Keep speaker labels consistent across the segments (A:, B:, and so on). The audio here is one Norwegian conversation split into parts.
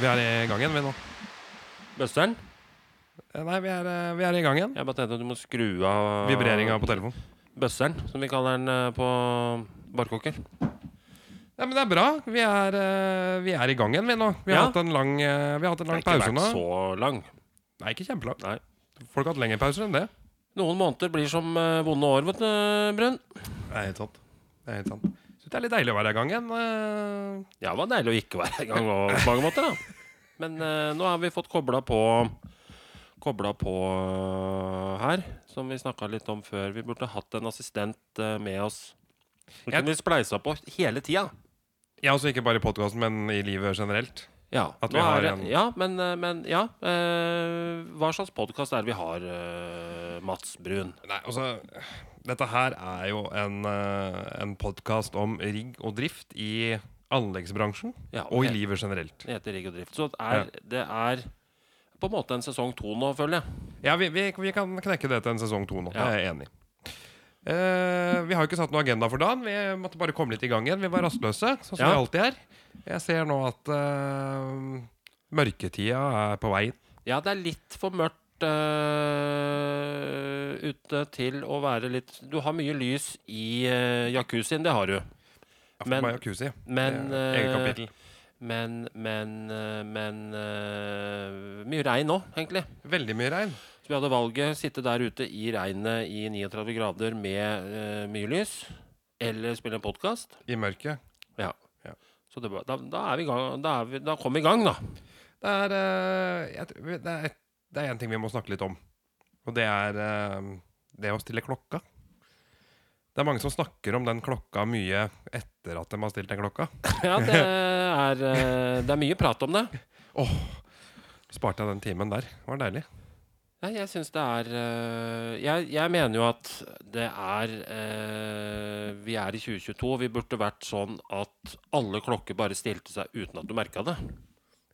A: Vi er i gang igjen, vi nå.
B: Bøsteren?
A: Eh, Nei, vi er, eh, vi er i gang igjen.
B: Jeg bare tenkte at du må skru av
A: Vibreringa på telefonen.
B: Bøsteren, som vi kaller den eh, på barkokker.
A: Ja, men det er bra. Vi er, eh, vi er i gang igjen, vi nå. Vi har
B: Ja.
A: hatt en lang, eh, vi har hatt en
B: Den har
A: lang
B: ikke
A: pause
B: vært
A: nå.
B: så lang.
A: Nei, ikke kjempelang.
B: Nei.
A: Folk har hatt lengre pauser enn det.
B: Noen måneder blir som eh, vonde år, vet du, Brun.
A: Det er helt sant. Det er helt sant. Så det er litt deilig å være i gang igjen. eh.
B: Ja, det var deilig å ikke være i gang på mange måter, da. Men eh, nå har vi fått kobla på Kobla på eh, her, som vi snakka litt om før. Vi burde hatt en assistent eh, med oss. Som
A: Jeg-
B: kunne vi spleisa på hele tida.
A: Ja, altså ikke bare i podkasten, men i livet generelt.
B: Ja,
A: At
B: nå
A: vi har
B: er det-
A: en-
B: Ja, men, eh, men ja. eh, hva slags podkast er det vi har, eh, Mats Brun?
A: Nei, altså Dette her er jo en, eh, en podkast om rigg og drift i anleggsbransjen.
B: Ja,
A: Og i
B: det-
A: livet generelt.
B: Det heter Rigg og drift. Så det er, det er på en måte en sesong to nå, føler jeg.
A: Ja, vi, vi, vi kan knekke det til en sesong to nå.
B: Ja.
A: Det er jeg enig i. Eh, vi har jo ikke satt noen agenda for dagen. Vi måtte bare komme litt i gang igjen. Vi var rastløse, sånn som
B: Ja.
A: vi alltid er. Jeg ser nå at eh, mørketida er på vei.
B: Ja, det er litt for mørkt eh, ute til å være litt Du har mye lys i uh, jacuzzien, det har du.
A: Ja, for
B: Men-
A: meg og Kusi.
B: Men
A: Det er eget
B: eh,
A: kapittel.
B: Men, men, eh, men eh, Mye regn nå, egentlig.
A: Veldig mye regn.
B: Så vi hadde valget sitte der ute i regnet i 39 grader med eh, mye lys, eller spille en podkast.
A: I mørket.
B: Så det, var- da, da er vi i gang. Da, er vi, da kom vi i gang, da.
A: Det er eh, jeg tror- Det er- det er én ting vi må snakke litt om, og det er eh, det å stille klokka. Det er mange som snakker om den klokka mye etter at de har stilt den klokka.
B: Ja, det er, eh, det er mye prat om det.
A: Sparte jeg den timen der. Det var deilig.
B: Nei, jeg syns det er eh, jeg, jeg mener jo at det er eh, Vi er i 2022. Vi burde vært sånn at alle klokker bare stilte seg uten at du merka det.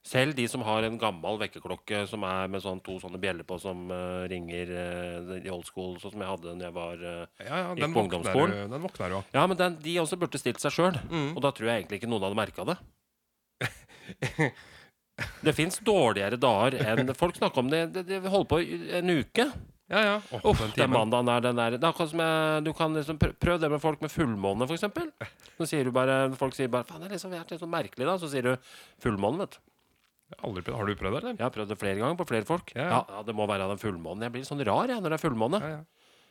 B: Selv de som har en gammel vekkerklokke som er med sånn to sånne bjeller på som eh, ringer eh, i old school, sånn som jeg hadde da jeg var eh,
A: Ja, ja,
B: Gikk
A: den
B: på
A: våkner
B: ungdomsskolen.
A: du- Den våkner du av.
B: Ja, men den, de også burde stilt seg sjøl.
A: Mm.
B: Og da tror jeg egentlig ikke noen hadde merka det. Det fins dårligere dager enn Folk snakker om det, det, det vi holder på i en uke.
A: Ja, ja. Åh,
B: Uff,
A: den
B: den
A: timen.
B: mandagen er den der. Det er akkurat som jeg, du kan liksom prø- prøve det med folk med fullmåne, for eksempel. Så sier du bare Folk sier bare Faen, det er liksom, jeg er litt sånn merkelig, da. Så sier du fullmåne, vet du.
A: Aldri prøvd. Har du prøvd det, eller?
B: Jeg har prøvd det flere ganger på flere folk.
A: Ja,
B: Ja,
A: ja.
B: ja. det må være den fullmånen. Jeg blir sånn rar, jeg, når det er fullmåne.
A: Ja, ja.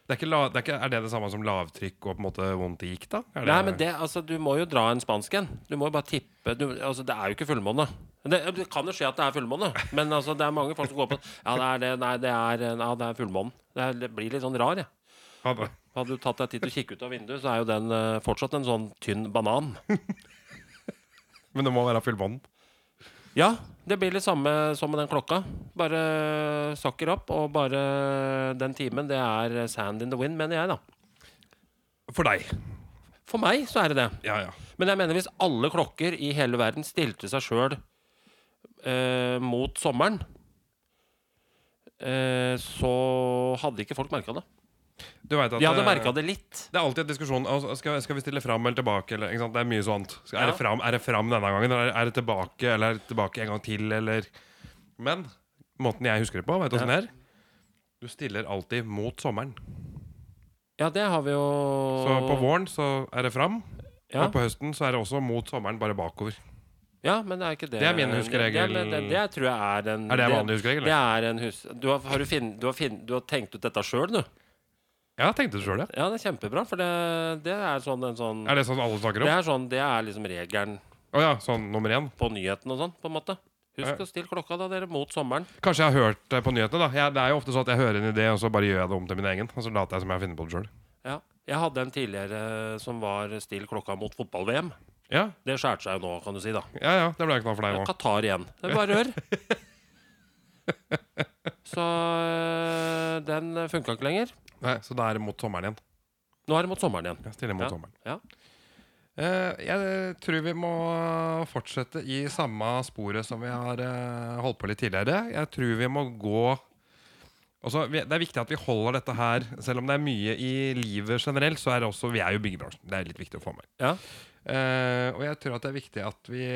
A: Det er, ikke la, det er, ikke, er det det samme som lavtrykk og på en måte vondt i gikk, da? Er
B: Nei, men det, altså, du må jo dra en spansk en. Du må jo bare tippe du, altså, Det er jo ikke fullmåne. Det, det kan jo skje at det er fullmåne, men altså, det er mange folk som går på Ja, det er det. Nei, det er, ja, det er fullmånen. Det, er- det blir litt sånn rar, jeg.
A: Hadde-
B: Hadde du tatt deg tid til å kikke ut av vinduet, så er jo den eh, fortsatt en sånn tynn banan.
A: men det må være full vann.
B: Ja, det blir det samme som med den klokka. Bare sokker opp, og bare den timen, det er sand in the wind, mener jeg, da.
A: For deg.
B: For meg så er det det.
A: Ja, ja.
B: Men jeg mener hvis alle klokker i hele verden stilte seg sjøl eh, mot sommeren, eh, så hadde ikke folk merka det.
A: Du vet at
B: De hadde
A: eh,
B: merka det litt.
A: Det er alltid en diskusjon. Altså, skal, skal vi stille fram eller tilbake? Eller, ikke sant? Det er mye sånt. Skal, er,
B: Ja.
A: det fram, er det fram denne gangen, eller er det tilbake, eller er det tilbake en gang til, eller Men måten jeg husker det på, vet du åssen det er? Du stiller alltid mot sommeren.
B: Ja, det har vi jo
A: Så på våren så er det fram,
B: ja. Mm,
A: og på høsten så er det også mot sommeren, bare bakover.
B: ja, men det er ikke det
A: Det er min huskeregel.
B: Det, det, det, det tror jeg er en
A: Er det en vanlig huskeregel?
B: Det
A: Ja,
B: er en hus... Du har, har, du finn, du har, finn, du har tenkt ut dette sjøl, du?
A: jeg tenkte det sjøl, ja.
B: Ja, det er kjempebra, for det, det er sånn en sånn
A: Er det sånn alle snakker
B: Det
A: om? Å
B: er sånn, det er liksom regelen
A: ja, sånn nummer én.
B: på nyhetene og sånn, på en måte. Husk
A: Ja.
B: å stille klokka, da, dere, mot sommeren.
A: Kanskje jeg har hørt det på nyhetene, da. Jeg, det er jo ofte sånn at jeg hører en idé, og så bare gjør jeg det om til min egen. Og så later jeg som jeg har funnet på det sjøl.
B: Ja. Jeg hadde en tidligere som var still klokka mot fotball-VM.
A: Ja,
B: Det skjærte seg jo nå, kan du si, da.
A: ja, ja. Det ble jeg knall for deg nå.
B: Qatar igjen. Det er bare rør. Så øh, den funka ikke lenger.
A: Nei, så da er det mot sommeren igjen.
B: Nå er det mot sommeren igjen.
A: Jeg stiller mot
B: Ja,
A: sommeren.
B: ja.
A: Eh, jeg tror vi må fortsette i samme sporet som vi har eh, holdt på litt tidligere. Jeg tror vi må gå Altså, vi, Det er viktig at vi holder dette her. Selv om det er mye i livet generelt, så er det også Vi er jo i byggebransjen. Det er litt viktig å få med.
B: Ja.
A: Eh, og jeg tror at det er viktig at vi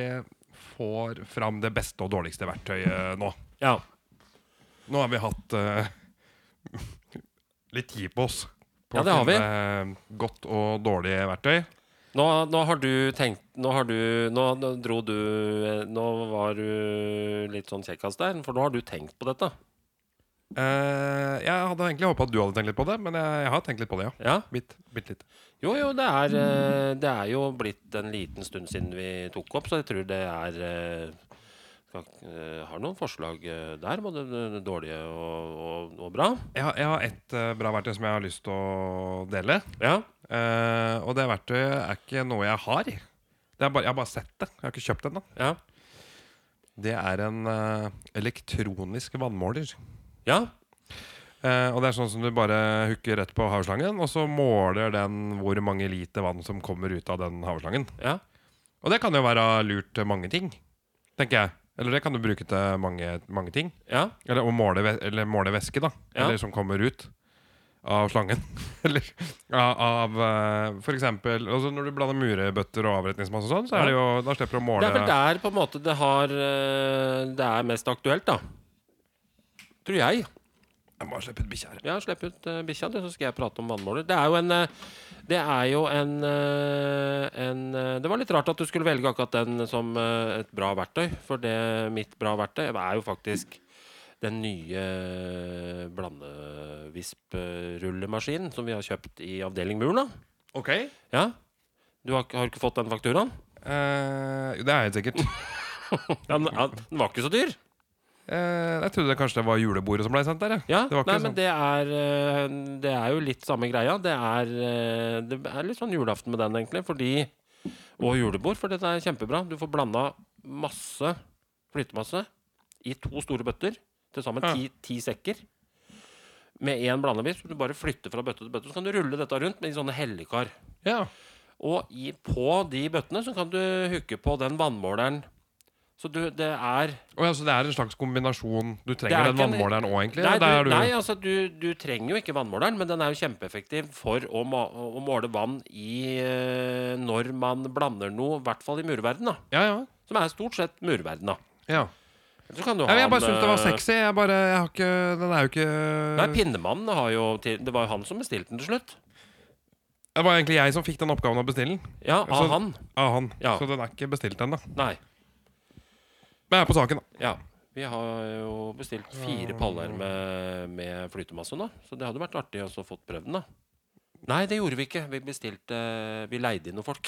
A: får fram det beste og dårligste verktøyet nå.
B: Ja.
A: Nå har vi hatt eh, litt tid på oss.
B: Ja,
A: På
B: det har vi.
A: finne Godt og dårlig verktøy.
B: Nå, nå har du tenkt Nå har du Nå, nå dro du eh, Nå var du litt sånn kjekkas der, for nå har du tenkt på dette.
A: Eh, jeg hadde egentlig håpa at du hadde tenkt litt på det, men jeg, jeg har tenkt litt på det, ja.
B: Ja.
A: Bitt, bitt litt.
B: Jo, jo, det er, eh, det er jo blitt en liten stund siden vi tok opp, så jeg tror det er eh, skal, eh, Har noen forslag eh, der, både det dårlige og, og, og bra.
A: Jeg, har- jeg har ett eh, bra verktøy som jeg har lyst til å dele.
B: Ja.
A: Eh, og det verktøyet er ikke noe jeg har. Det er bare, jeg har bare sett det. Jeg har ikke kjøpt det ennå.
B: Ja.
A: Det er en eh, elektronisk vannmåler.
B: ja.
A: Eh, og det er sånn som du bare hooker rett på havslangen, og så måler den hvor mange liter vann som kommer ut av den havslangen.
B: Ja.
A: Og det kan jo være lurt til mange ting, tenker jeg. Eller det kan du bruke til mange, mange ting.
B: Ja.
A: Eller å måle, væ- eller måle væske, da.
B: Ja.
A: Eller som kommer ut av slangen. eller av, av eh, for eksempel altså Når du blander murebøtter og avretningsmasse og sånn,
B: Ja.
A: så er det jo Da slipper du å
B: Det
A: måle
B: er vel der på en måte det har eh, Det er mest aktuelt, da. Tror jeg.
A: Jeg må slippe ut bikkja her.
B: Ja, slipp ut eh, bikkja, du, så skal jeg prate om vannmåler. Det er jo en eh, Det er jo en, eh, en eh, Det var litt rart at du skulle velge akkurat den som eh, et bra verktøy, for det mitt bra verktøy er jo faktisk den nye blandevisp-rullemaskinen som vi har kjøpt i avdeling Muren, da.
A: Ok
B: Ja. Du har, ikke- har ikke fått den fakturaen?
A: Eh, jo, det er helt sikkert.
B: Ja, den, ja, den var ikke så dyr.
A: Eh, jeg trodde det kanskje det var julebordet som ble sendt der. jeg.
B: Ja,
A: Det var ikke
B: nei,
A: sånn.
B: men det er, eh, det er jo litt samme greia. Det er, eh, det er litt sånn julaften med den, egentlig. Fordi, og julebord, for dette er kjempebra. Du får blanda masse flytemasse i to store bøtter. Til sammen
A: Ja.
B: ti, ti sekker. Med én blandevis. Du bare flytter fra bøtte til bøtte. Så kan du rulle dette rundt med i sånne hellekar.
A: Ja.
B: Og i, på de bøttene så kan du hooke på den vannmåleren. Så du, det er
A: Å ja, så det er en slags kombinasjon. Du
B: Det
A: trenger
B: er
A: den
B: ikke en-
A: vannmåleren òg, egentlig?
B: Nei,
A: eller der er
B: du,
A: du-
B: nei altså, du, du trenger jo ikke vannmåleren, men den er jo kjempeeffektiv for å, ma å måle vann i eh, når man blander noe, i hvert fall i murverden, da.
A: Ja, ja.
B: Som er stort sett murverden, da.
A: ja.
B: Så kan du
A: Nei, men jeg
B: ha
A: bare syntes det var eh,
B: en, eh,
A: sexy. Jeg bare, jeg har ikke, den er jo ikke
B: Nei, Pinnemannen har jo til, Det var jo han som bestilte den til slutt.
A: Det var egentlig jeg som fikk den oppgaven å bestille den.
B: Ja, av
A: Så-
B: han.
A: Av han.
B: Ja.
A: Så den er ikke bestilt ennå.
B: Nei.
A: Men jeg er på saken, da.
B: Ja. Vi har jo bestilt fire paller med, med flytemasse nå, så det hadde vært artig også å få prøvd den, da. Nei, det gjorde vi ikke. Vi bestilte Vi leide inn noen folk.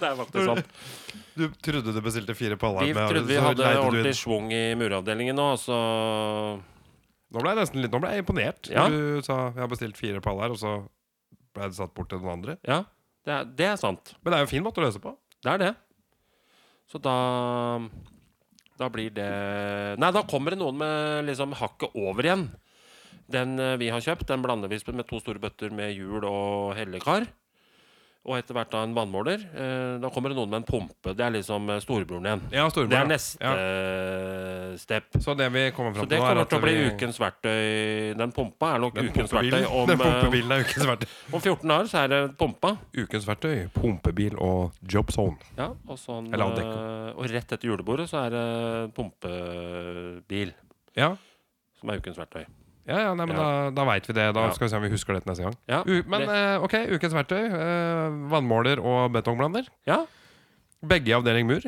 B: det er faktisk sant.
A: Du trodde du bestilte fire paller?
B: Vi trodde vi hadde ordentlig schwung i muravdelingen nå, så
A: Nå ble jeg nesten litt Nå ble jeg imponert.
B: Ja.
A: Du sa jeg har bestilt fire paller, og så ble det satt bort til noen andre.
B: Ja, det er, det er sant.
A: Men det er jo en fin måte å løse på.
B: Det er det. Så da Da blir det Nei, da kommer det noen med liksom hakket over igjen. Den eh, vi har kjøpt, den blandevispen med to store bøtter med hjul og hellekar. Og etter hvert da en vannmåler. Eh, Da kommer det noen med en pumpe. Det er liksom eh, storebroren igjen.
A: Ja, storebror.
B: Det er
A: ja.
B: neste
A: Ja.
B: eh, step.
A: Så det vi kommer
B: Så
A: fram
B: det
A: til nå, er
B: kommer
A: at
B: til å bli
A: vi-
B: ukens verktøy. Den pumpa er nok
A: Den
B: ukens verktøy
A: pumpebilen-
B: om,
A: Den
B: eh,
A: pumpebilen er ukens verktøy.
B: om 14 år. Så er det pumpa.
A: Ukens verktøy, pumpebil og jobzone.
B: Ja, og, sånn,
A: Eller
B: eh,
A: avdekke.
B: og rett etter julebordet så er det pumpebil
A: Ja,
B: som er ukens verktøy.
A: ja, ja nei, men da, da veit vi det. Da
B: Ja.
A: skal vi se om vi husker dette neste gang.
B: Ja,
A: U men
B: det,
A: eh, ok, ukens verktøy. eh, vannmåler og betongblander.
B: ja,
A: Begge i avdeling mur.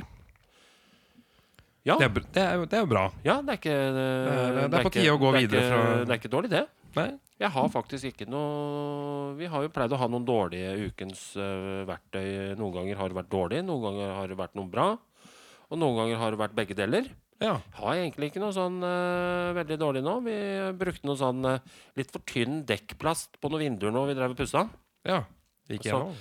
B: Ja.
A: Det, er, br- det, er, jo- det er jo bra.
B: ja, det er ikke
A: det er
B: eh,
A: på
B: ikke-
A: tide å gå
B: det er
A: videre
B: ikke-
A: fra-
B: Det er ikke dårlig, det.
A: Nei?
B: Jeg har faktisk ikke noe Vi har jo pleid å ha noen dårlige ukens eh, verktøy. Noen ganger har det vært dårlig, noen ganger har det vært noe bra. Og noen ganger har det vært begge deler.
A: Ja.
B: Har jeg egentlig ikke noe sånn eh, veldig dårlig nå. Vi brukte noe sånn eh, litt for tynn dekkplast på noen vinduer nå vi drev og pussa.
A: ja. Gikk
B: Så-
A: gjennom.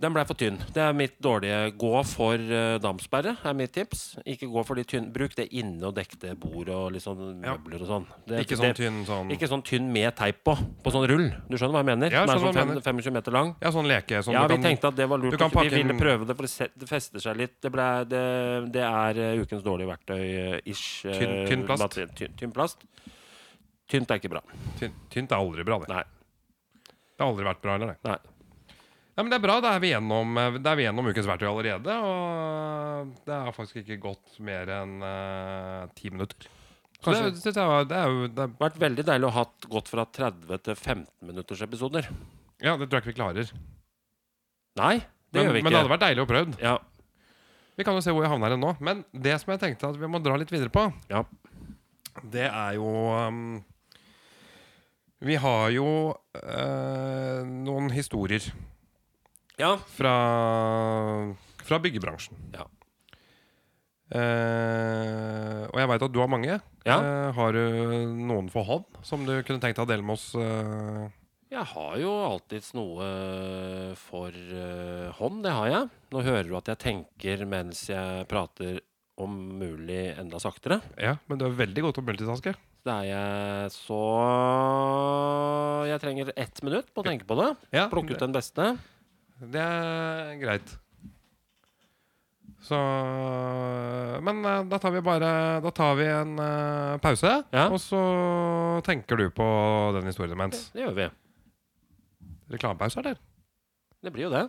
B: Den ble for tynn. Det er mitt dårlige Gå for eh, dampsperre, er mitt tips. Ikke gå for de tynne. Bruk det inne og dekk det bord og litt sånn
A: Ja.
B: møbler og sånn. Det-
A: Ikke sånn
B: det-
A: tynn sånn
B: Ikke sånn tynn med teip på. På sånn rull. Du skjønner hva jeg mener?
A: Ja,
B: Den er
A: jeg skjønner
B: sånn
A: hva du
B: fem, 25 meter lang.
A: Ja, sånn leke. Sånn
B: ja,
A: du
B: vi
A: kan-
B: tenkte at det var lurt.
A: du kan
B: Vi
A: pakke
B: ville
A: en-
B: prøve det, for det, set, det fester seg litt. Det, ble, det, det er eh, ukens dårlige eh, verktøy-ish.
A: Tynn- tynn plast.
B: Tynn, tynn plast. Tynt er ikke bra.
A: tyn- Tynt er aldri bra, det.
B: Nei.
A: Det har aldri vært bra heller, det.
B: Nei.
A: Ja, men det er bra. Da er vi gjennom, eh, da er vi gjennom ukens verktøy allerede. Og det har faktisk ikke gått mer enn eh, ti minutter. Så det,
B: Kanskje.
A: synes jeg var- det er jo det, er-
B: vært veldig deilig å ha hatt gått fra 30 til 15 minutters episoder.
A: Ja, det tror jeg ikke vi klarer.
B: Nei, det
A: men,
B: gjør vi ikke.
A: men det hadde vært deilig å prøvd.
B: ja.
A: Vi kan jo se hvor jeg havner hen nå. Men det som jeg tenkte at vi må dra litt videre på,
B: Ja.
A: det er jo um, Vi har jo eh, noen historier
B: ja.
A: fra, fra byggebransjen.
B: Ja.
A: Eh, og jeg veit at du har mange.
B: Ja.
A: Eh, har du noen for hånd som du kunne tenkt deg å dele med oss? eh?
B: Jeg har jo alltids noe for eh, hånd, det har jeg. Nå hører du at jeg tenker mens jeg prater om mulig enda saktere.
A: ja, men du er veldig god til å multitaske.
B: Det er jeg så Jeg trenger ett minutt på å tenke på det.
A: Ja,
B: Plukke ut den beste.
A: Det er greit. Så Men eh, da tar vi bare Da tar vi en eh, pause,
B: Ja.
A: og så tenker du på den historien imens.
B: Det gjør vi.
A: Reklamepause, eller?
B: Det blir jo det.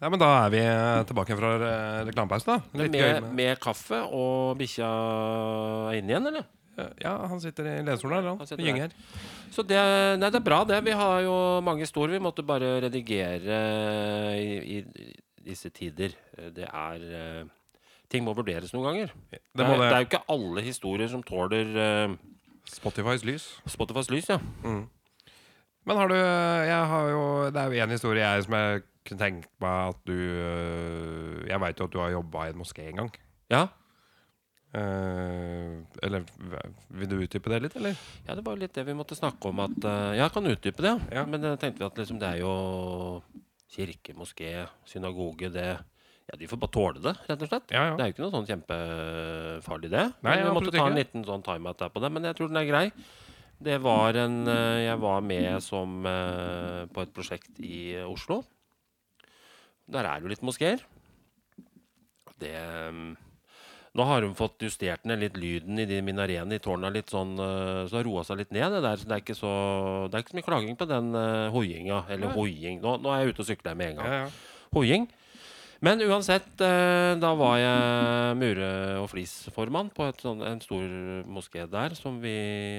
A: Ja, men da er vi eh, tilbake fra eh, reklamepause, da. Litt gøy
B: Med,
A: med-
B: med kaffe og bikkja er inne igjen, eller?
A: Eh, Ja, han sitter i lenestolen her,
B: Han
A: han.
B: sitter
A: han gynger.
B: Så det, nei, det er bra, det. Vi har jo mange historier. Vi måtte bare redigere i, i disse tider. Det er eh, Ting må vurderes noen ganger.
A: Det må
B: er- det
A: det.
B: er jo ikke alle historier som tåler eh,
A: Spotifys lys.
B: Spotifys lys, ja.
A: Men har du Jeg har jo Det er jo én historie jeg som jeg kunne tenkt meg at du øh, Jeg veit jo at du har jobba i en moské en gang.
B: ja.
A: Eh, eller vil du utdype det litt, eller?
B: Ja, det var jo litt det vi måtte snakke om. At, eh, ja, jeg kan utdype det.
A: Ja.
B: Men da tenkte vi at liksom, det er jo kirke, moské, synagoge det, ja, De får bare tåle det, rett og slett.
A: Ja,
B: Det er jo ikke noe sånn kjempefarlig, det.
A: Nei,
B: Men vi
A: absolutt
B: måtte ta en
A: ikke.
B: liten sånn timeout der på det, men jeg tror den er grei. Det var en eh, Jeg var med som eh, på et prosjekt i eh, Oslo. Der er det jo litt moskeer. Det eh, Nå har hun fått justert ned litt lyden i de minareene i tårna litt sånn, eh, så det har roa seg litt ned. Det der, så det er ikke så Det er ikke så mye klaging på den eh, hoiinga. Eller
A: Nei.
B: hoiing nå, nå er jeg ute og sykler her med en gang
A: ja, ja.
B: hoiing. Men uansett, eh, da var jeg mure- og flisformann på et sånn, en stor moské der som vi,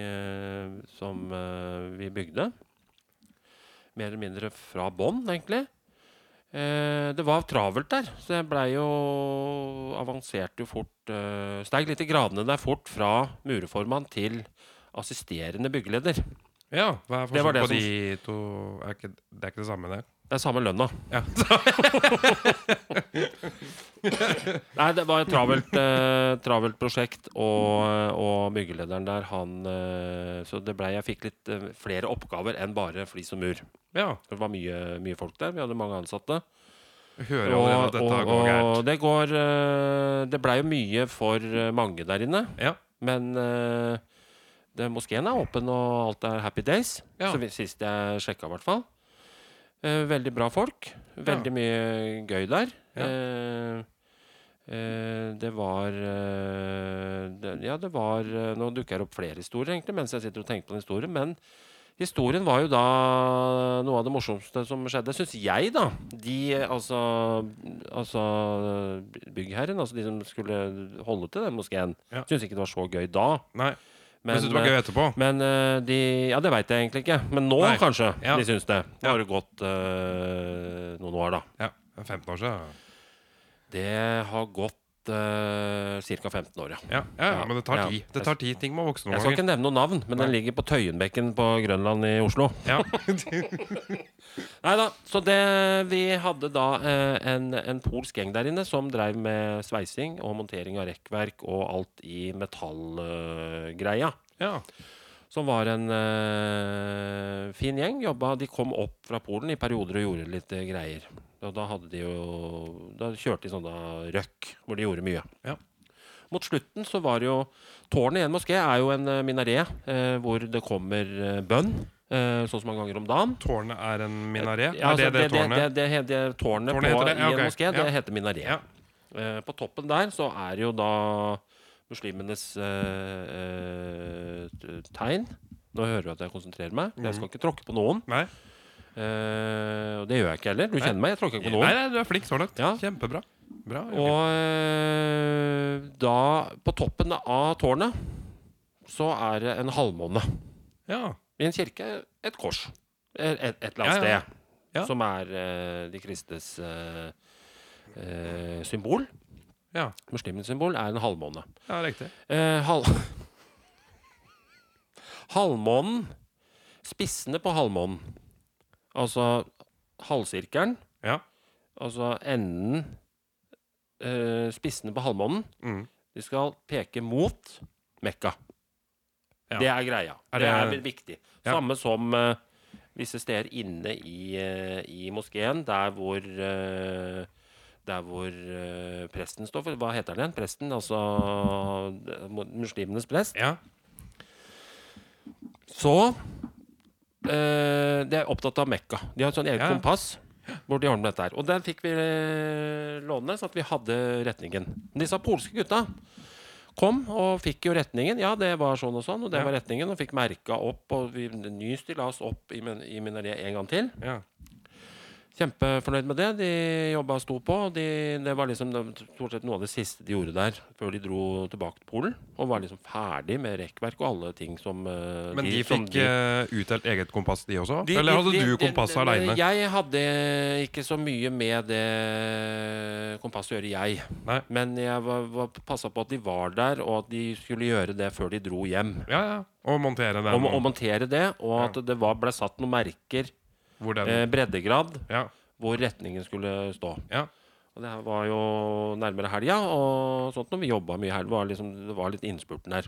B: eh, som, eh, vi bygde. Mer eller mindre fra bånn, egentlig. Eh, det var travelt der, så jeg blei jo avanserte jo fort eh, Steig litt i gradene der fort fra mureformann til assisterende byggeleder.
A: ja hva er
B: Det var
A: forskjellen
B: det
A: på de to? Er ikke, det er ikke det samme, det?
B: Det er samme lønna.
A: Ja.
B: Nei, det var et travelt, eh, travelt prosjekt, og, og byggelederen der, han eh, Så det ble, jeg fikk litt eh, flere oppgaver enn bare flis og mur.
A: Ja.
B: Det var mye, mye folk der. Vi hadde mange ansatte.
A: Jeg Hører jo allerede at dette går gærent.
B: og det går eh, Det blei jo mye for eh, mange der inne.
A: Ja.
B: Men eh, det, moskeen er åpen, og alt er happy days.
A: Ja.
B: Så vi- sist jeg sjekka, i hvert fall. Eh, veldig bra folk. Veldig mye gøy der.
A: Ja.
B: Eh, eh, det var eh, det, Ja, det var eh, Nå dukker det opp flere historier egentlig mens jeg sitter og tenker på den historien. Men historien var jo da noe av det morsomste som skjedde, syns jeg, da. De, eh, altså, altså byggherren, altså de som skulle holde til den moskeen,
A: Ja.
B: syntes ikke det var så gøy da.
A: Nei.
B: Men,
A: Men syns du det var gøy etterpå?
B: men eh, de Ja, det veit jeg egentlig ikke. Men nå,
A: Nei.
B: kanskje,
A: Ja.
B: de syns det. Nå
A: Ja.
B: har det gått eh, noen år, da.
A: Ja. det er 15 år siden.
B: Det har gått uh, ca. 15 år, ja.
A: Ja, ja, ja, men det tar
B: Ja.
A: tid. Det tar tid. Ting må vokse
B: Jeg
A: noen
B: skal
A: ganger.
B: ikke nevne noe navn, men den
A: Nei.
B: ligger på Tøyenbekken på Grønland i Oslo.
A: Ja.
B: Nei da. Så det Vi hadde da eh, en, en polsk gjeng der inne som dreiv med sveising og montering av rekkverk og alt i metallgreia.
A: ja.
B: som var en eh, fin gjeng. Jobba, de kom opp fra Polen i perioder og gjorde litt eh, greier. Og da hadde de jo Da kjørte de sånne røkk, hvor de gjorde mye.
A: Ja.
B: Mot slutten så var det jo Tårnet i en moské er jo en eh, minaret eh, hvor det kommer eh, bønn eh, så og så mange ganger om dagen.
A: Tårnet er en minaret?
B: Ja, altså,
A: er det det tårnet?
B: Det, det, he- det tårnet,
A: Tårnet
B: på,
A: heter det? Ja,
B: i en
A: ok.
B: moské,
A: Ja.
B: det heter minaret.
A: Ja.
B: Eh, på toppen der så er jo da muslimenes
A: Mhm.
B: eh, eh, t- tegn. Nå hører du at jeg konsentrerer meg. men Jeg skal ikke tråkke på noen.
A: Nei?
B: Eh, og det gjør jeg ikke heller. Du
A: Nei.
B: kjenner meg, jeg tråkker ikke på noen.
A: Nei, nei, du er flink så langt.
B: Ja.
A: Kjempebra. Bra. Jørgen.
B: Og eh, da, på toppen av tårnet, så er det en halvmåne.
A: ja.
B: I en kirke et kors. Et, et, et eller annet
A: Ja, ja.
B: sted.
A: Ja.
B: Som er eh, de kristnes eh, eh, symbol.
A: ja.
B: Muslimens symbol er en halvmåne.
A: Ja, riktig.
B: Eh, hal halvmånen Spissene på halvmånen. Altså halvsirkelen.
A: Ja.
B: Altså enden eh, Spissene på halvmånen.
A: Mm.
B: De skal peke mot Mekka.
A: Ja.
B: Det er greia.
A: Er
B: det,
A: det-
B: er vel viktig.
A: Ja.
B: Samme som eh, visse steder inne i, eh, i moskeen, der hvor eh, der hvor eh, presten står for Hva heter den? igjen? Presten? Altså eh, muslimenes prest?
A: Ja.
B: Så eh, De er opptatt av Mekka. De har et sånn eget
A: Ja.
B: kompass. Hvor de ordner dette her Og den fikk vi eh, låne, så at vi hadde retningen. Men disse polske gutta kom og fikk jo retningen. Ja, det var sånn og sånn, og det
A: Ja.
B: var retningen. Og fikk merka opp, og vi, ny stillas opp i, min- i mineriet en gang til.
A: ja.
B: Kjempefornøyd med det. De jobba og sto på. og De, det var liksom det, var stort sett noe av det siste de gjorde der før de dro tilbake til Polen. Og var liksom ferdig med rekkverk og alle ting som eh,
A: Men de,
B: som
A: fikk eh, utdelt eget kompass, de også?
B: de-
A: Eller hadde
B: de-
A: du
B: de-
A: kompasset
B: de-
A: aleine?
B: Jeg hadde ikke så mye med det kompasset å gjøre, jeg.
A: Nei.
B: Men jeg var, var, passa på at de var der, og at de skulle gjøre det før de dro hjem.
A: Ja, ja. Og montere den.
B: Om å montere det, og at
A: Ja.
B: det var, ble satt noen merker,
A: hvor den
B: eh, breddegrad,
A: Ja.
B: hvor retningen skulle stå.
A: ja.
B: Og det her var jo nærmere helga, og sånt når vi jobba mye helg. Var liksom, det var litt innspurten her.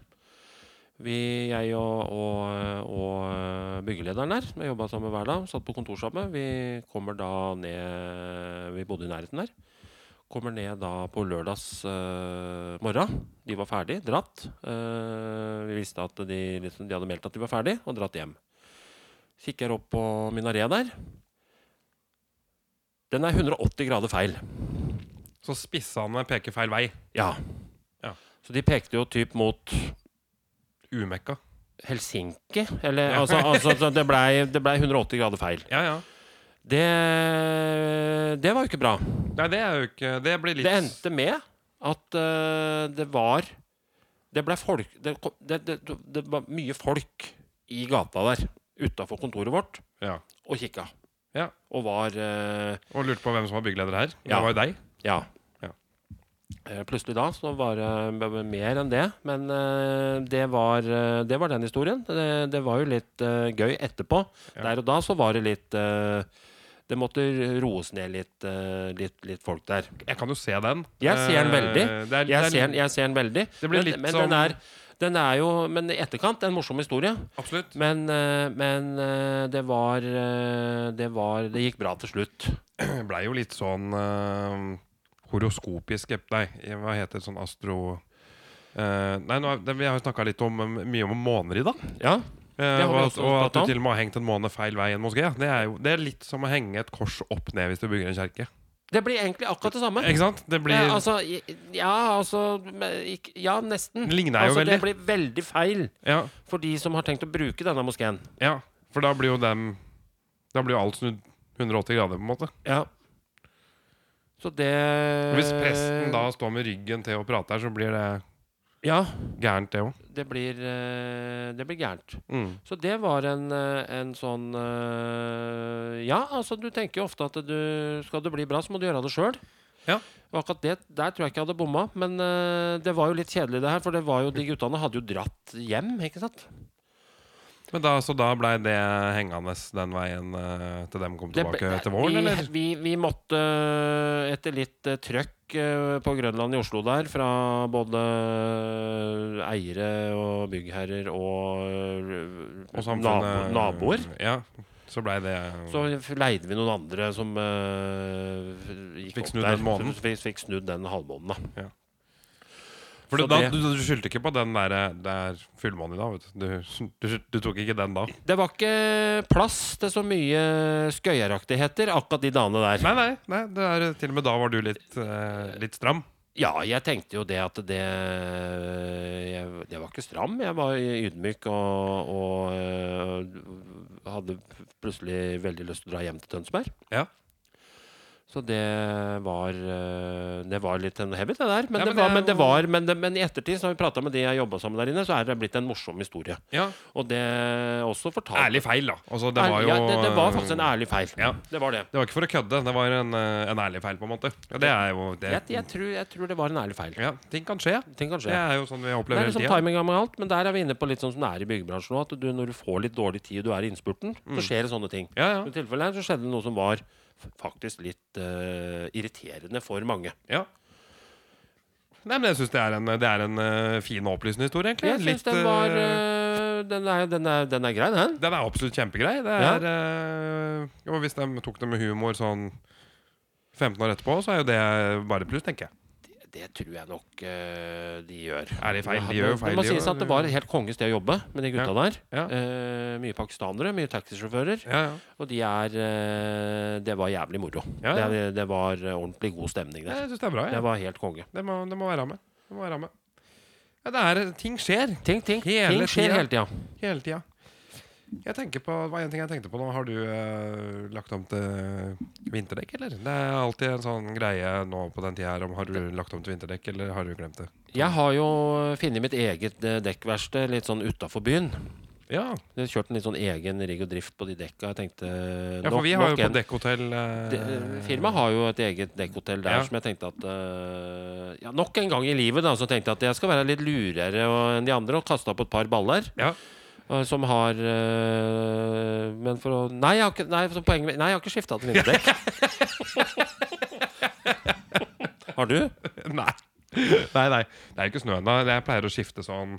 B: Vi, jeg og, og, og byggelederen her, vi jobba sammen hver dag, satt på kontor sammen. Vi kommer da ned Vi bodde i nærheten der. Kommer ned da på lørdags eh, morgen. De var ferdig, dratt. Eh, vi visste at de, liksom, de hadde meldt at de var ferdig, og dratt hjem. Kikker opp på minareet der. Den er 180 grader feil.
A: Så spissene peker feil vei.
B: Ja.
A: Ja.
B: Så de pekte jo typ mot
A: Umekka.
B: Helsinki, eller altså, altså så det, blei, det blei 180 grader feil.
A: Ja, ja.
B: Det, det var jo ikke bra.
A: Nei, det er jo ikke Det blir litt
B: Det endte med at eh, det var Det blei folk det, kom- det, det, det var mye folk i gata der utafor kontoret vårt
A: Ja.
B: og kikka.
A: Ja.
B: Og var eh,
A: Og lurte på hvem som var byggeleder her.
B: Ja.
A: Det var jo deg.
B: Ja.
A: Ja.
B: Eh, Plutselig da så var det b- b- mer enn det. Men eh, det var, eh, det var den historien. Det, det var jo litt eh, gøy etterpå.
A: Ja.
B: Der og da så var det litt eh, Det måtte roes ned litt, eh, litt, litt folk der.
A: Jeg kan jo se den.
B: Jeg ser den
A: Eh,
B: veldig.
A: det er- det er-
B: Jeg ser, den- jeg ser den veldig.
A: Det blir
B: men,
A: litt
B: men
A: som-
B: den, er, den er jo Men i etterkant en morsom historie.
A: Absolutt.
B: Men, eh, men eh, det var eh, Det var Det gikk bra til slutt.
A: Det blei jo litt sånn eh, horoskopisk ep- Nei, hva heter det sånn astro... Eh, nei, nå, er- det, vi har jo snakka litt om, eh, mye om måneder i dag.
B: Ja.
A: Eh,
B: Det har vi
A: og, at-
B: også
A: og at
B: snakket
A: du
B: om.
A: til og med har hengt en måned feil vei i en moské. Det er, jo, det er litt som å henge et kors opp ned hvis du bygger en kjerke.
B: Det blir egentlig akkurat det samme.
A: Ikke sant? Det blir
B: ja, altså, i- ja, altså men ikk- Ja, nesten.
A: Det ligner jo
B: altså,
A: veldig.
B: Det blir veldig feil
A: ja,
B: for de som har tenkt å bruke denne moskeen.
A: ja, for da blir jo dem Da blir jo alt snudd 180 grader, på en måte.
B: Ja. Så det
A: Hvis presten da står med ryggen til og prater, så blir det
B: Ja,
A: gærent, det òg.
B: det blir, eh, det blir gærent.
A: Mm.
B: Så det var en, eh, en sånn eh, Ja, altså, du tenker jo ofte at du skal det bli bra, så må du gjøre det sjøl.
A: Ja.
B: Og akkurat det, der tror jeg ikke jeg hadde bomma. Men eh, det var jo litt kjedelig, det her. For det var jo, de guttene hadde jo dratt hjem, ikke sant?
A: Men da, så da blei det hengende den veien eh, til dem kom
B: Det ble-
A: tilbake til våren,
B: vi,
A: eller?
B: Vi, vi måtte øh, etter litt øh, trøkk øh, på Grønland i Oslo der, fra både øh, eiere og byggherrer og, øh,
A: Og samfunnet
B: nabo, naboer,
A: Ja. Så blei det
B: så f- leide vi noen andre som øh, gikk
A: Fikk
B: opp
A: snudd
B: der.
A: den måneden.
B: Så Fikk, fikk snudd den halvmåneden, da.
A: For
B: så
A: da,
B: det-
A: du, du skyldte ikke på den derre Det er fullmåne i dag, vet du. Du, du. du tok ikke den da.
B: Det var ikke plass til så mye skøyeraktigheter akkurat de dagene der.
A: Nei, nei. nei det er, til og med da var du litt, eh, litt stram.
B: Ja, jeg tenkte jo det at det jeg, Jeg var ikke stram. Jeg var ydmyk og, og øh, hadde plutselig veldig lyst til å dra hjem til Tønsberg.
A: Ja.
B: Så det var eh, Det var litt en habit, det der. Men,
A: Ja,
B: det
A: men det
B: var,
A: er
B: men, det
A: jo-
B: var, men, det, men i ettertid, så har vi prata med de jeg jobba sammen der inne, så er det blitt en morsom historie.
A: Ja.
B: Og det er også fortalt
A: Ærlig feil, da. Altså, det
B: Ærlig-
A: var jo
B: ja, det, det var faktisk en ærlig feil.
A: Ja.
B: Det var det.
A: Det var ikke for å kødde, det var en, eh, en ærlig feil, på en måte. Og det er jo det.
B: Jeg, jeg, tror, jeg tror det var en ærlig feil.
A: Ja, ting kan skje.
B: Ting kan
A: Det
B: skje.
A: er jo sånn vi
B: Det
A: opplever
B: er
A: hele
B: liksom
A: tida.
B: timing og alt, men der er vi inne på litt sånn som det er i byggebransjen nå. At du, når du får litt dårlig tid og du er i innspurten, så skjer det sånne ting.
A: Mm. Ja,
B: I
A: ja.
B: tilfellet her så skjedde det noe som var f- faktisk litt eh, irriterende for mange.
A: ja. Nei, men jeg syns det er en, det er en eh, fin og opplysende historie, egentlig.
B: Jeg synes
A: Litt,
B: den var
A: eh,
B: eh, den, er, den, er, den er grei, den.
A: Den er absolutt kjempegrei. Det
B: Ja.
A: er, eh, og hvis de tok det med humor sånn 15 år etterpå, så er jo det bare pluss, tenker jeg.
B: Det, det tror jeg nok eh, de gjør.
A: Er det feil?
B: Ja,
A: De gjør jo
B: det-
A: feil.
B: Det må
A: de
B: sies
A: gjør-
B: at det var et helt konges sted å jobbe med de gutta der.
A: Ja.
B: Eh, mye pakistanere, mye taxisjåfører.
A: ja, ja.
B: Og de er eh, Det var jævlig moro.
A: Ja, ja.
B: Det, det var eh, ordentlig god stemning der.
A: Nei, Jeg syns det er bra.
B: Det
A: Ja.
B: var helt konge.
A: Det, må, det må være med. Det må være med. Ja, det er, ting skjer
B: Ting, ting,
A: Hele
B: ting skjer
A: tida.
B: hele tida.
A: hele tida. Jeg tenker på, Det var en ting jeg tenkte på nå. Har du eh, lagt om til vinterdekk, eller? Det er alltid en sånn greie nå på den tida her om har du lagt om til vinterdekk, eller har du glemt det?
B: Jeg har jo funnet mitt eget eh, dekkverksted litt sånn utafor byen.
A: Ja,
B: Jeg kjørte en litt sånn egen rigg og drift på de dekka. Jeg tenkte
A: ja for
B: nok-
A: vi har jo
B: nok
A: på
B: en-
A: dekkhotell
B: De-
A: eh,
B: Firmaet har jo et eget dekkhotell der
A: Ja.
B: som jeg tenkte at eh, ja, Nok en gang i livet da, så tenkte jeg at jeg skal være litt lurere og- enn de andre og kaste opp et par baller.
A: Ja.
B: eh, som har eh, Men for å Nei, jeg har ikke, nei, så poenget, mitt- nei, jeg har ikke skifta til vinterdekk. har du?
A: Nei. nei, nei. Det er ikke snø ennå. Jeg pleier å skifte sånn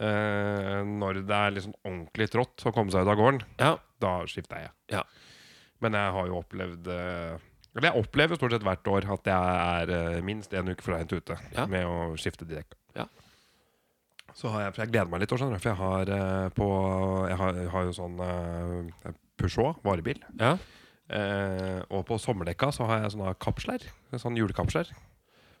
A: eh, Når det er liksom ordentlig trått å komme seg ut av gården,
B: Ja.
A: da skifter jeg.
B: Ja.
A: Men jeg har jo opplevd eh, Eller jeg opplever stort sett hvert år at jeg er eh, minst en uke for seint ute
B: Ja.
A: med å skifte de dekka.
B: Ja.
A: Så har jeg, for jeg gleder meg litt, skjønner du, for jeg har, eh, på, jeg har, jeg har jo sånn eh, Peugeot varebil.
B: ja.
A: Eh, og på sommerdekka så har jeg sånne kapsler. Sånn julekapsler.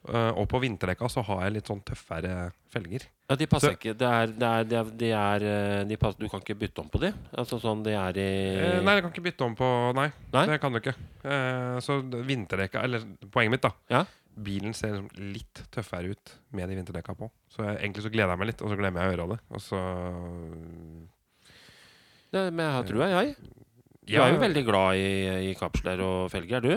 A: Eh, og på vinterdekka så har jeg litt sånn tøffere felger.
B: Ja, De passer
A: Så-
B: ikke. Det er, det er, det er, de er eh, de pass, Du kan ikke bytte om på de? Altså sånn de er i
A: Eh, nei, jeg kan ikke bytte om på Nei,
B: Nei?
A: det kan du ikke. Eh, så d- vinterdekka Eller poenget mitt, da.
B: Ja.
A: Bilen ser liksom litt tøffere ut med de vinterdekka på. Så jeg, egentlig så gleder jeg meg litt, og så glemmer jeg å gjøre det. Og så
B: Det, men jeg har trua, jeg. Du er jo veldig glad i, i kapsler og felger, er du?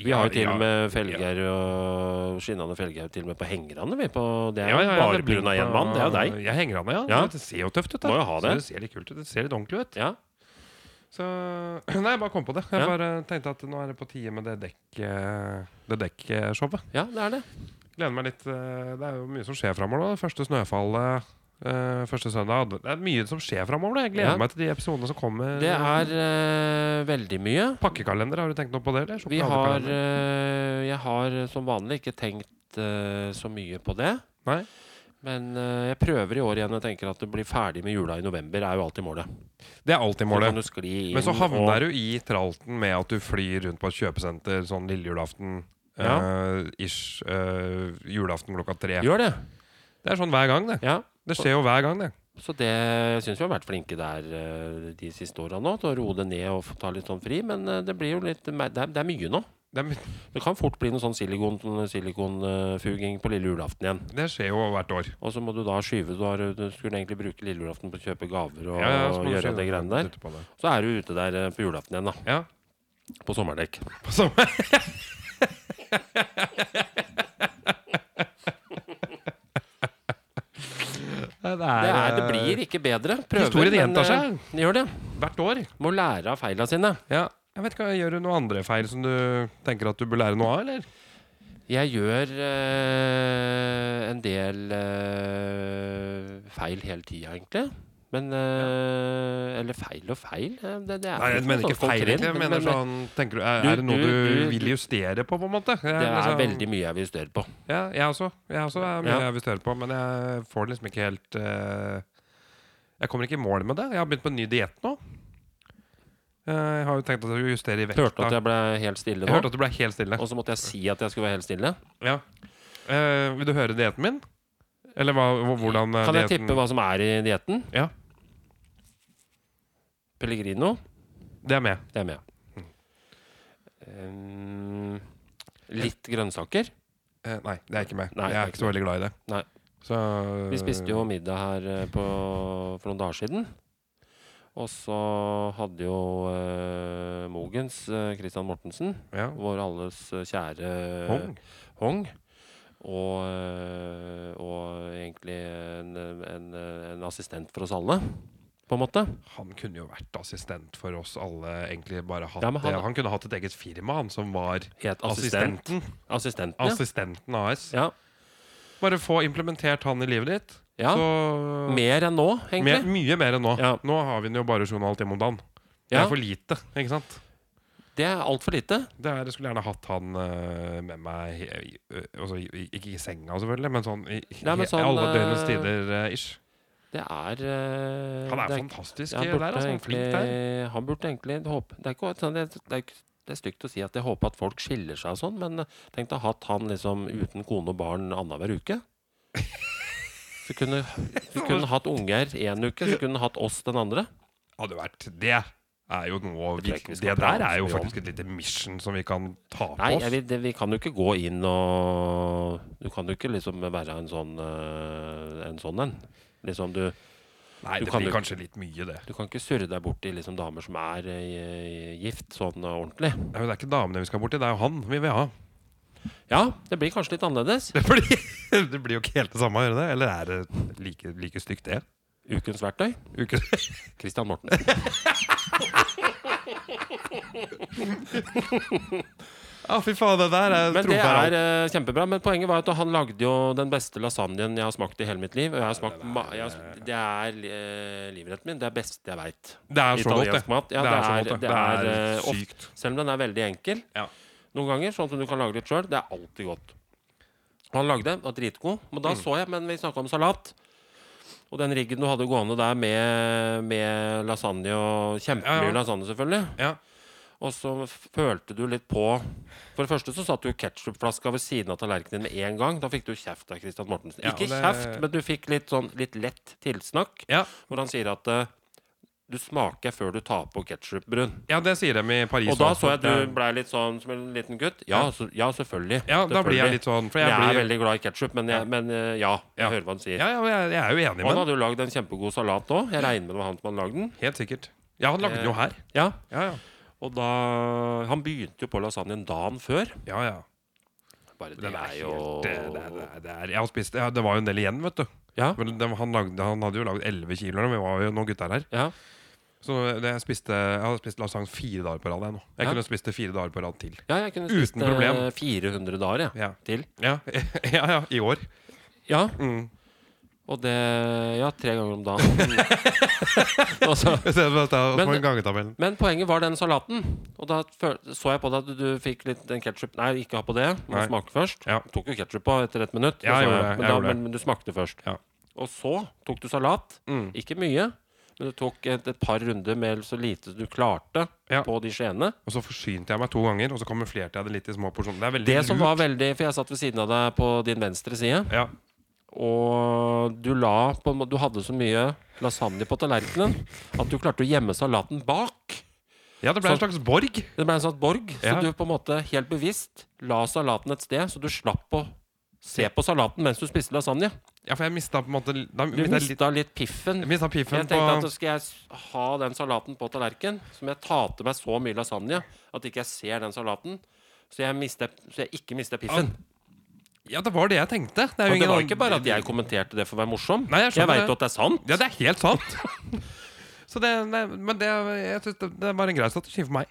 B: Vi har jo til og med felger og skinnende felger til og med på hengerne. Vi på, det er jo bare pga. én mann. Det er jo deg.
A: Jeg henger an, ja.
B: Ja.
A: Det ser jo tøft ut.
B: Må jo ha
A: Så
B: det.
A: det ser litt kult ut. Det ser litt ordentlig ut.
B: Ja.
A: Så Nei, jeg bare kom på det. Jeg
B: Ja.
A: bare tenkte at nå er det på tide med det dekk eh, Det dekkshowet.
B: ja, det er det.
A: Gleder meg litt. eh, Det er jo mye som skjer framover nå. Første snøfallet eh, første søndag. Det er mye som skjer framover. Jeg gleder
B: Ja.
A: meg til de episodene som kommer.
B: Det er eh, veldig mye.
A: Pakkekalender, har du tenkt noe på det? Eller?
B: Vi har
A: Sjokoladekalender?
B: eh, Jeg har som vanlig ikke tenkt eh, så mye på det.
A: Nei.
B: Men eh, jeg prøver i år igjen og tenker at det blir ferdig med jula i november. er jo alltid målet.
A: Det er alltid
B: Så kan
A: målet.
B: du skli Sånn inn
A: Men så havner
B: og,
A: du i tralten med at du flyr rundt på et kjøpesenter sånn lille julaften.
B: Ja.
A: eh, ish. eh, julaften klokka tre.
B: Gjør det.
A: Det er sånn hver gang, det.
B: Ja.
A: Det skjer jo hver gang, det.
B: Så det jeg syns vi har vært flinke der eh, de siste åra nå, til å roe det ned og få ta litt sånn fri. Men eh, det blir jo litt Det er, det er mye nå.
A: Det, er,
B: Det kan fort bli noe sånn silikon- silikonfuging på lille julaften igjen.
A: my- det skjer jo hvert år.
B: Og så må du da skyve. Du, har, du skulle egentlig bruke lille julaften på å kjøpe gaver og,
A: Ja, ja, så må du
B: gjøre
A: skjønne-
B: det greiene der.
A: putte på det.
B: Så er du ute der eh, på julaften igjen, da.
A: Ja.
B: På sommerdekk.
A: På samme Det,
B: Det, er, det blir ikke bedre. Prøver,
A: eh, Historien
B: men,
A: gjentar
B: eh,
A: seg
B: Gjør det.
A: hvert år.
B: Må lære av feila sine.
A: Ja. Jeg vet ikke, Gjør du noen andre feil som du tenker at du bør lære noe av, eller?
B: Jeg gjør eh, en del eh, feil hele tida, egentlig. Men eh, Eller feil og feil eh, det, det er
A: Nei, jeg
B: noe
A: mener
B: sånn
A: ikke feil,
B: konkret,
A: egentlig. Jeg
B: men-
A: mener
B: men
A: sånn, tenker du, er,
B: Du-
A: er det noe
B: du-
A: du,
B: du-
A: vil justere på, på en måte? Jeg,
B: eh, Det er
A: liksom-
B: veldig mye jeg vil justere på.
A: Ja, jeg også. Jeg også er mye
B: Ja.
A: jeg vil justere på, men jeg får det liksom ikke helt eh, Jeg kommer ikke i mål med det. Jeg har begynt på en ny diett nå. Eh, jeg har jo tenkt at jeg skulle justere i vekta.
B: Hørte at jeg ble helt stille
A: Jeg hørte
B: nå,
A: at du ble helt stille.
B: og så måtte jeg si at jeg skulle være helt stille.
A: Ja. Eh, vil du høre dietten min? Eller hva, hv- hvordan eh,
B: Kan jeg
A: dieten-
B: tippe hva som er i dietten?
A: Ja.
B: Pellegrino,
A: Det er med.
B: det er med. Ehm, litt grønnsaker.
A: Eh, nei, det er ikke med.
B: Nei,
A: jeg er
B: det er
A: ikke så veldig glad i det.
B: Nei.
A: Så,
B: Vi spiste jo middag her eh, på, for noen dager siden. Og så hadde jo eh, Mogens, eh, Christian Mortensen,
A: ja.
B: vår alles eh, kjære
A: Hong.
B: Hong. Og, eh, og egentlig en, en, en assistent for oss alle, på en måte.
A: Han kunne jo vært assistent for oss alle. egentlig bare hatt
B: Ja, men han-
A: det. han kunne hatt et eget firma, han som var
B: Het assistent.
A: assistenten.
B: Assistenten, ja.
A: Assistenten AS.
B: ja.
A: Bare få implementert han i livet ditt.
B: Ja,
A: så
B: Mer enn nå,
A: Mer-
B: egentlig.
A: mye mer enn nå.
B: Ja.
A: Nå har vi den jo bare journalt hjemme om dagen. Det
B: Ja,
A: er for lite. ikke sant?
B: det er altfor lite.
A: Det er, jeg skulle gjerne hatt han eh, med meg i- i- altså, i- i- Ikke i senga, selvfølgelig, men sånn i
B: Nei, men
A: he-
B: sånn,
A: alle døgnets
B: eh,
A: tider eh, ish.
B: Det er eh,
A: Han er,
B: det
A: fantastisk
B: han
A: der.
B: burde
A: Altså, han er flink der.
B: egentlig- Han burde egentlig håpe Det er ikke sånn- det, er- det, er ikke- det er stygt å si at jeg håper at folk skiller seg og sånn, men eh, tenk å ha hatt han liksom uten kone og barn annenhver uke. Så kunne vi kunne hatt unger én uke, så kunne han hatt oss den andre.
A: Hadde vært Det er jo noe
B: Det tror
A: vi,
B: jeg ikke vi skal
A: Det der
B: prate
A: er jo
B: så mye om.
A: faktisk et lite mission som vi kan ta på
B: Nei,
A: oss.
B: jeg, vil- det, vi kan jo ikke gå inn og Du kan jo ikke liksom være en sånn eh, en. Sånn en. Liksom du
A: Nei,
B: du
A: det
B: kan
A: blir
B: jo-
A: kanskje litt mye, det.
B: Du kan ikke surre deg borti liksom damer som er eh, gift sånn eh, ordentlig.
A: Nei, men det er ikke damene vi skal borti, det er jo han vi vil ha.
B: Ja, det blir kanskje litt annerledes.
A: Det blir, det blir jo ikke helt det samme å gjøre det. Eller er det like, like stygt, det?
B: Ukens verktøy
A: Uke,
B: Christian Morten.
A: ah, fy faen, det der er
B: Men det er
A: trofeer.
B: eh, kjempebra. Men poenget var at han lagde jo den beste lasagnen jeg har smakt i hele mitt liv. Og jeg har smakt ma jeg har, sm- Det er eh, livretten min. Det er beste jeg veit.
A: Det er så godt, det.
B: Italiensk mat. Ja,
A: det, er så
B: det er,
A: godt,
B: det er, eh, ofte-
A: sykt.
B: Selv om den er veldig enkel
A: Ja.
B: noen ganger, sånn som du kan lage litt sjøl. Det er alltid godt. Og han lagde den, var dritgod. Men
A: Mm.
B: da så jeg, men vi snakka om salat. Og den riggen du hadde gående der med, med lasagne og
A: Ja,
B: Kjempemye
A: ja.
B: lasagne, selvfølgelig.
A: Ja.
B: Og så f- følte du litt på For det første så satt du ketsjupflaska ved siden av tallerkenen din med en gang. Da fikk du kjeft av Christian Mortensen.
A: Ja,
B: Ikke
A: og det-
B: kjeft, men du fikk litt sånn litt lett tilsnakk.
A: Ja.
B: Hvor han sier at eh, du smaker før du tar på ketsjupbrun.
A: ja, det sier de i Paris.
B: Og da
A: også.
B: så jeg at
A: Det
B: du
A: er-
B: blei litt sånn som en liten gutt. Ja, så, ja selvfølgelig.
A: Ja, da blir jeg litt sånn. For
B: jeg,
A: jeg,
B: er
A: blir,
B: veldig glad i ketsjup, men, jeg- men eh, ja, jeg
A: Ja.
B: hører hva han sier.
A: ja, ja, men jeg, jeg er jo enig
B: Og han
A: med ham.
B: hadde jo lagd en kjempegod salat òg. Jeg regner med det var han som hadde lagd den.
A: Helt sikkert. Ja, han lagde den jo
B: Eh.
A: her.
B: Ja,
A: Ja, ja.
B: Og da Han begynte jo på lasagnen dagen før.
A: ja, ja.
B: Bare det,
A: Den er
B: er jo
A: helt det, det, det, det er, Jeg har spist ja, Det var jo en del igjen, vet du.
B: Ja.
A: Men det, han, lagde, han hadde jo lagd 11 kilo, og vi var jo noen gutter her.
B: Ja.
A: Så det, jeg, spiste, jeg har spist lasagne fire dager på rad. Jeg, nå. jeg
B: Ja.
A: kunne spist det fire dager på rad til.
B: ja, jeg kunne
A: Uten
B: spist eh,
A: problem.
B: 400 dager jeg,
A: Ja,
B: til.
A: ja, ja, ja i år.
B: Ja,
A: Mm.
B: og det Ja, tre ganger om dagen. altså,
A: Jeg ser for meg at det er
B: Men-
A: som en gangetabellen.
B: Men poenget var den salaten. Og da føl- så jeg på deg at du fikk litt den ketsjup Nei, ikke ha på det. Må
A: Nei.
B: smake først.
A: Ja.
B: Tok jo ketsjup på etter ett minutt.
A: Ja,
B: det så
A: jeg gjorde det,
B: Men,
A: jeg
B: da,
A: gjorde det.
B: men, men du smakte først.
A: Ja.
B: Og så tok du salat.
A: Mm.
B: Ikke mye, men du tok et, et par runder med så lite du klarte
A: Ja.
B: på de skjeene.
A: Og så forsynte jeg meg to ganger, og så kamuflerte jeg det litt i små porsjoner. Det er veldig
B: Det som
A: lurt.
B: var veldig For jeg satt ved siden av deg på din venstre side,
A: ja.
B: og du la på en må- Du hadde så mye lasagne på tallerkenen at du klarte å gjemme salaten bak.
A: ja, det ble en
B: Så-
A: slags borg.
B: Det ble en sånn borg, så
A: Ja.
B: du på en måte helt bevisst la salaten et sted, så du slapp å se på salaten mens du spiste lasagne.
A: Ja, for jeg mista på en måte Da
B: Du
A: mista jeg litt
B: mista litt piffen.
A: jeg mistet piffen
B: Jeg
A: på
B: tenkte at da skal jeg s- ha den salaten på tallerken, så må jeg ta til meg så mye lasagne at ikke jeg ser den salaten. Så jeg, mister, så jeg ikke mister piffen.
A: Ja, det var det jeg tenkte. Det er jo
B: Og det
A: ingen
B: var
A: annen-
B: ikke bare at jeg kommenterte det for å være morsom.
A: Nei, jeg skjønner
B: jeg veit
A: det.
B: jo at det er sant.
A: Ja, det er helt sant. så det, nei, men det, jeg synes det, det var en grei strategi for meg.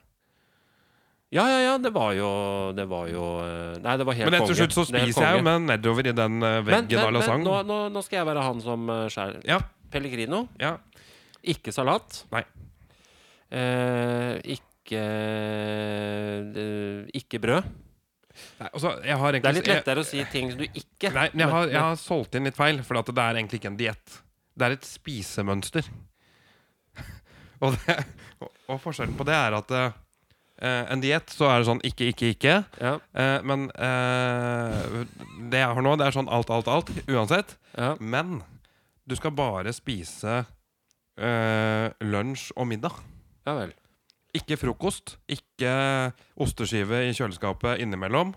B: Ja, ja, ja, det var jo Det var jo eh, Nei, det var helt
A: Men
B: konge.
A: etter slutt så
B: Det er helt
A: spiser
B: konge.
A: jeg jo med nedover i den eh,
B: Men,
A: veggen av
B: men, men nå,
A: lasagne.
B: nå, nå skal jeg være han som eh, skjærer.
A: Ja,
B: Pellegrino,
A: ja.
B: ikke salat.
A: Nei.
B: Eh, ikke eh, Ikke brød.
A: Nei, altså, jeg har
B: Det er
A: egentlig
B: litt lettere å si ting som du ikke
A: Jeg, nei, men jeg har, jeg har solgt inn litt feil, for at det er egentlig ikke en diett. Det er et spisemønster. og, det, og, og forskjellen på det er at eh, en diett, så er det sånn ikke, ikke, ikke.
B: Ja,
A: Eh, men eh, det jeg har nå, det er sånn alt, alt, alt. Uansett.
B: ja.
A: Men du skal bare spise eh, lunsj og middag.
B: Ja vel.
A: Ikke frokost, ikke eh, osteskive i kjøleskapet innimellom.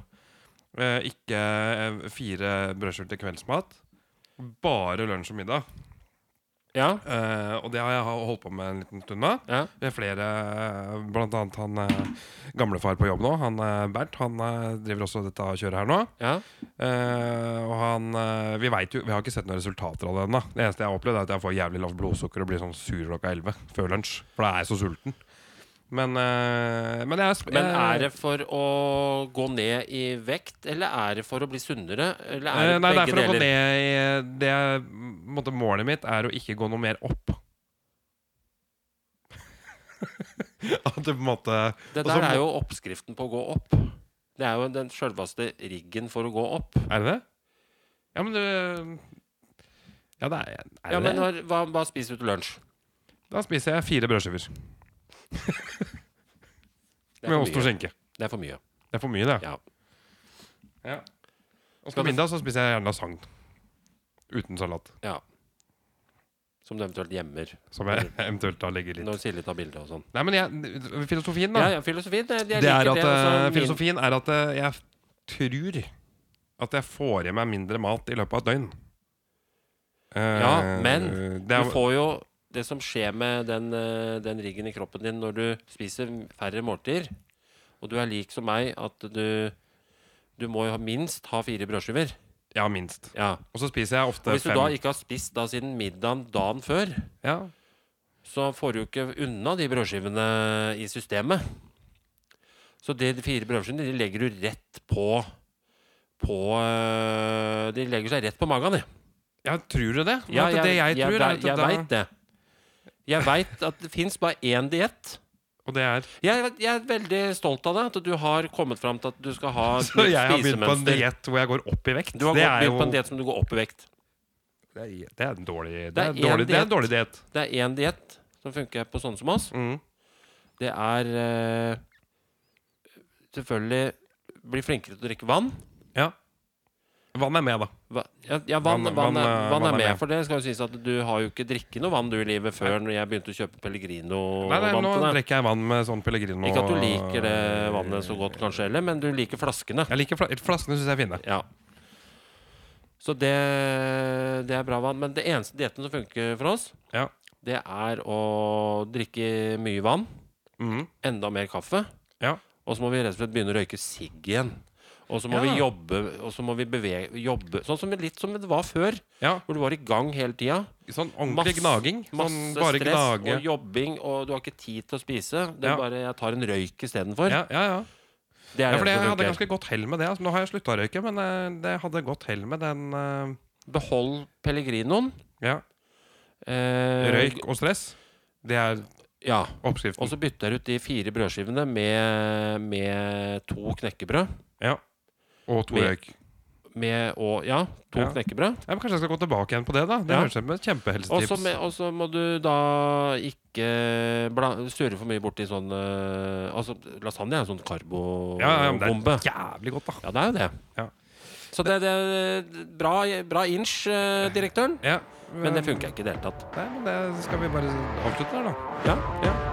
A: eh, Ikke eh, fire brødskiver til kveldsmat. Bare lunsj og middag.
B: Ja.
A: Eh, og det har jeg ha- holdt på med en liten stund nå.
B: ja.
A: Vi er flere, eh, blant annet han eh, gamlefar på jobb nå, han eh, Bernt, han eh, driver også dette kjøret her nå.
B: ja.
A: Eh, og han eh, Vi vet jo, vi har ikke sett noen resultater av det ennå. Det eneste jeg har opplevd, er at jeg får jævlig lavt blodsukker og blir sånn sur klokka 11 før lunsj. For da er jeg så sulten. Men, eh, men, jeg,
B: Men er det for å gå ned i vekt, eller er det for å bli sunnere? Eller er
A: Eh,
B: det
A: Nei, det er
B: begge
A: for å gå
B: deler?
A: ned i det er, på en måte, Målet mitt er å ikke gå noe mer opp. At det på en måte
B: Det
A: Og så
B: der
A: må-
B: er jo oppskriften på å gå opp. Det er jo den sjølveste riggen for å gå opp.
A: Er det det? Ja, men du Ja, det er, er
B: Ja,
A: det
B: men
A: det.
B: når, hva, hva spiser du til lunsj?
A: Da spiser jeg fire brødskiver
B: Det er
A: med
B: for
A: ost og
B: mye.
A: skinke.
B: Det er for mye.
A: Det er for mye, det.
B: Ja.
A: Ja. Og
B: Skal
A: på
B: du-
A: middag så spiser jeg gjerne lasagne. Uten salat.
B: Som du eventuelt gjemmer
A: Som jeg eventuelt da legger litt
B: når Silje tar bilde og sånn.
A: Nei, men jeg, filosofien, da.
B: Ja, ja, filosofien. Jeg, jeg
A: det
B: liker
A: er at,
B: det. altså,
A: eh,
B: min-
A: filosofien er at eh, jeg tror at jeg får i meg mindre mat i løpet av et døgn.
B: Ja,
A: Eh,
B: men
A: det er,
B: Du får jo det som skjer med den, eh, den riggen i kroppen din når du spiser færre måltider, og du er lik som meg at du, du må jo ha minst ha fire brødskiver.
A: Ja, minst.
B: Ja.
A: Og så spiser jeg
B: Og
A: ofte
B: hvis du
A: fem.
B: da ikke har spist da siden middagen dagen før,
A: Ja.
B: så får du jo ikke unna de brødskivene i systemet. Så de fire brødskivene de legger du rett på på eh, De legger seg rett på magen, de.
A: ja, tror du det? Men
B: Ja,
A: at
B: jeg,
A: det jeg, tror, er
B: jeg,
A: at da,
B: veit det. Jeg veit at det fins bare én diett.
A: Og det er
B: Jeg, jeg er veldig stolt av deg, at du har kommet fram til at du skal ha et
A: Så
B: nytt
A: jeg har begynt på en
B: spisemønster.
A: diett hvor jeg går opp i vekt.
B: Du har
A: det,
B: gått-
A: er
B: begynt
A: jo,
B: på en diett som du går opp i vekt.
A: det er- det er en dårlig Det,
B: Det er
A: er, en dårlig,
B: en
A: det er en dårlig diett.
B: Det er én diett som funker på sånne som oss.
A: Mm.
B: Det er eh, selvfølgelig bli flinkere til å drikke vann.
A: Vann er med, da.
B: Va ja, ja, vann,
A: Vann-
B: vann,
A: vann
B: er, vann er
A: er- vann er
B: med,
A: med.
B: for det skal jo sies at du har jo ikke drikket noe vann du i livet før når jeg begynte å kjøpe
A: Nei, nei,
B: Pellegrino-vann
A: nå
B: til deg.
A: drikker jeg vann med sånn Pellegrino.
B: Ikke at du liker det vannet så godt, kanskje, heller, men du liker flaskene.
A: Jeg liker fla Flaskene syns jeg er fine.
B: Ja. Så det, det er bra vann. Men det eneste dietten som funker for oss,
A: Ja.
B: det er å drikke mye vann,
A: Mm.
B: enda mer kaffe,
A: Ja.
B: og så må vi rett og slett begynne å røyke sigg igjen. Og så må vi
A: Ja.
B: jobbe, og så må vi bevege, jobbe Sånn som litt som det var før,
A: ja.
B: hvor du var i gang hele tida.
A: Sånn ordentlig
B: Masse-
A: gnaging. Sånn
B: Masse
A: bare
B: stress
A: gnage.
B: og jobbing, og du har ikke tid til å spise. Det er
A: Ja.
B: bare jeg tar en røyk istedenfor.
A: Ja, ja, ja.
B: Det
A: ja,
B: er
A: for
B: det
A: jeg
B: som
A: hadde
B: funker.
A: ganske godt hell med det. Altså, nå har jeg slutta å røyke, men eh, det hadde godt hell med den eh,
B: Behold pellegrinoen.
A: Ja.
B: Eh,
A: Røyk og stress. Det er
B: Ja. Og
A: oppskriften.
B: så bytter jeg ut de fire brødskivene med, med to knekkebrød.
A: Og to
B: med-
A: røyk.
B: Med, og, ja, to
A: Ja.
B: knekkebrød.
A: Ja, men kanskje jeg skal gå tilbake igjen på det, da. Det
B: Ja.
A: høres ut som et
B: Og så
A: kjempehelsetips.
B: med- og så må du da ikke bla- surre for mye borti sånn eh, Altså, lasagne er en sånn karbobombe.
A: Ja, ja, men det
B: bombe.
A: er jævlig godt, da.
B: ja, det er jo det.
A: Ja.
B: Så det, det er eh, bra, bra inch, eh, direktøren.
A: Ja.
B: Men det funker ikke i det hele tatt.
A: Nei, men det skal vi bare avslutte der, da.
B: Ja, ja.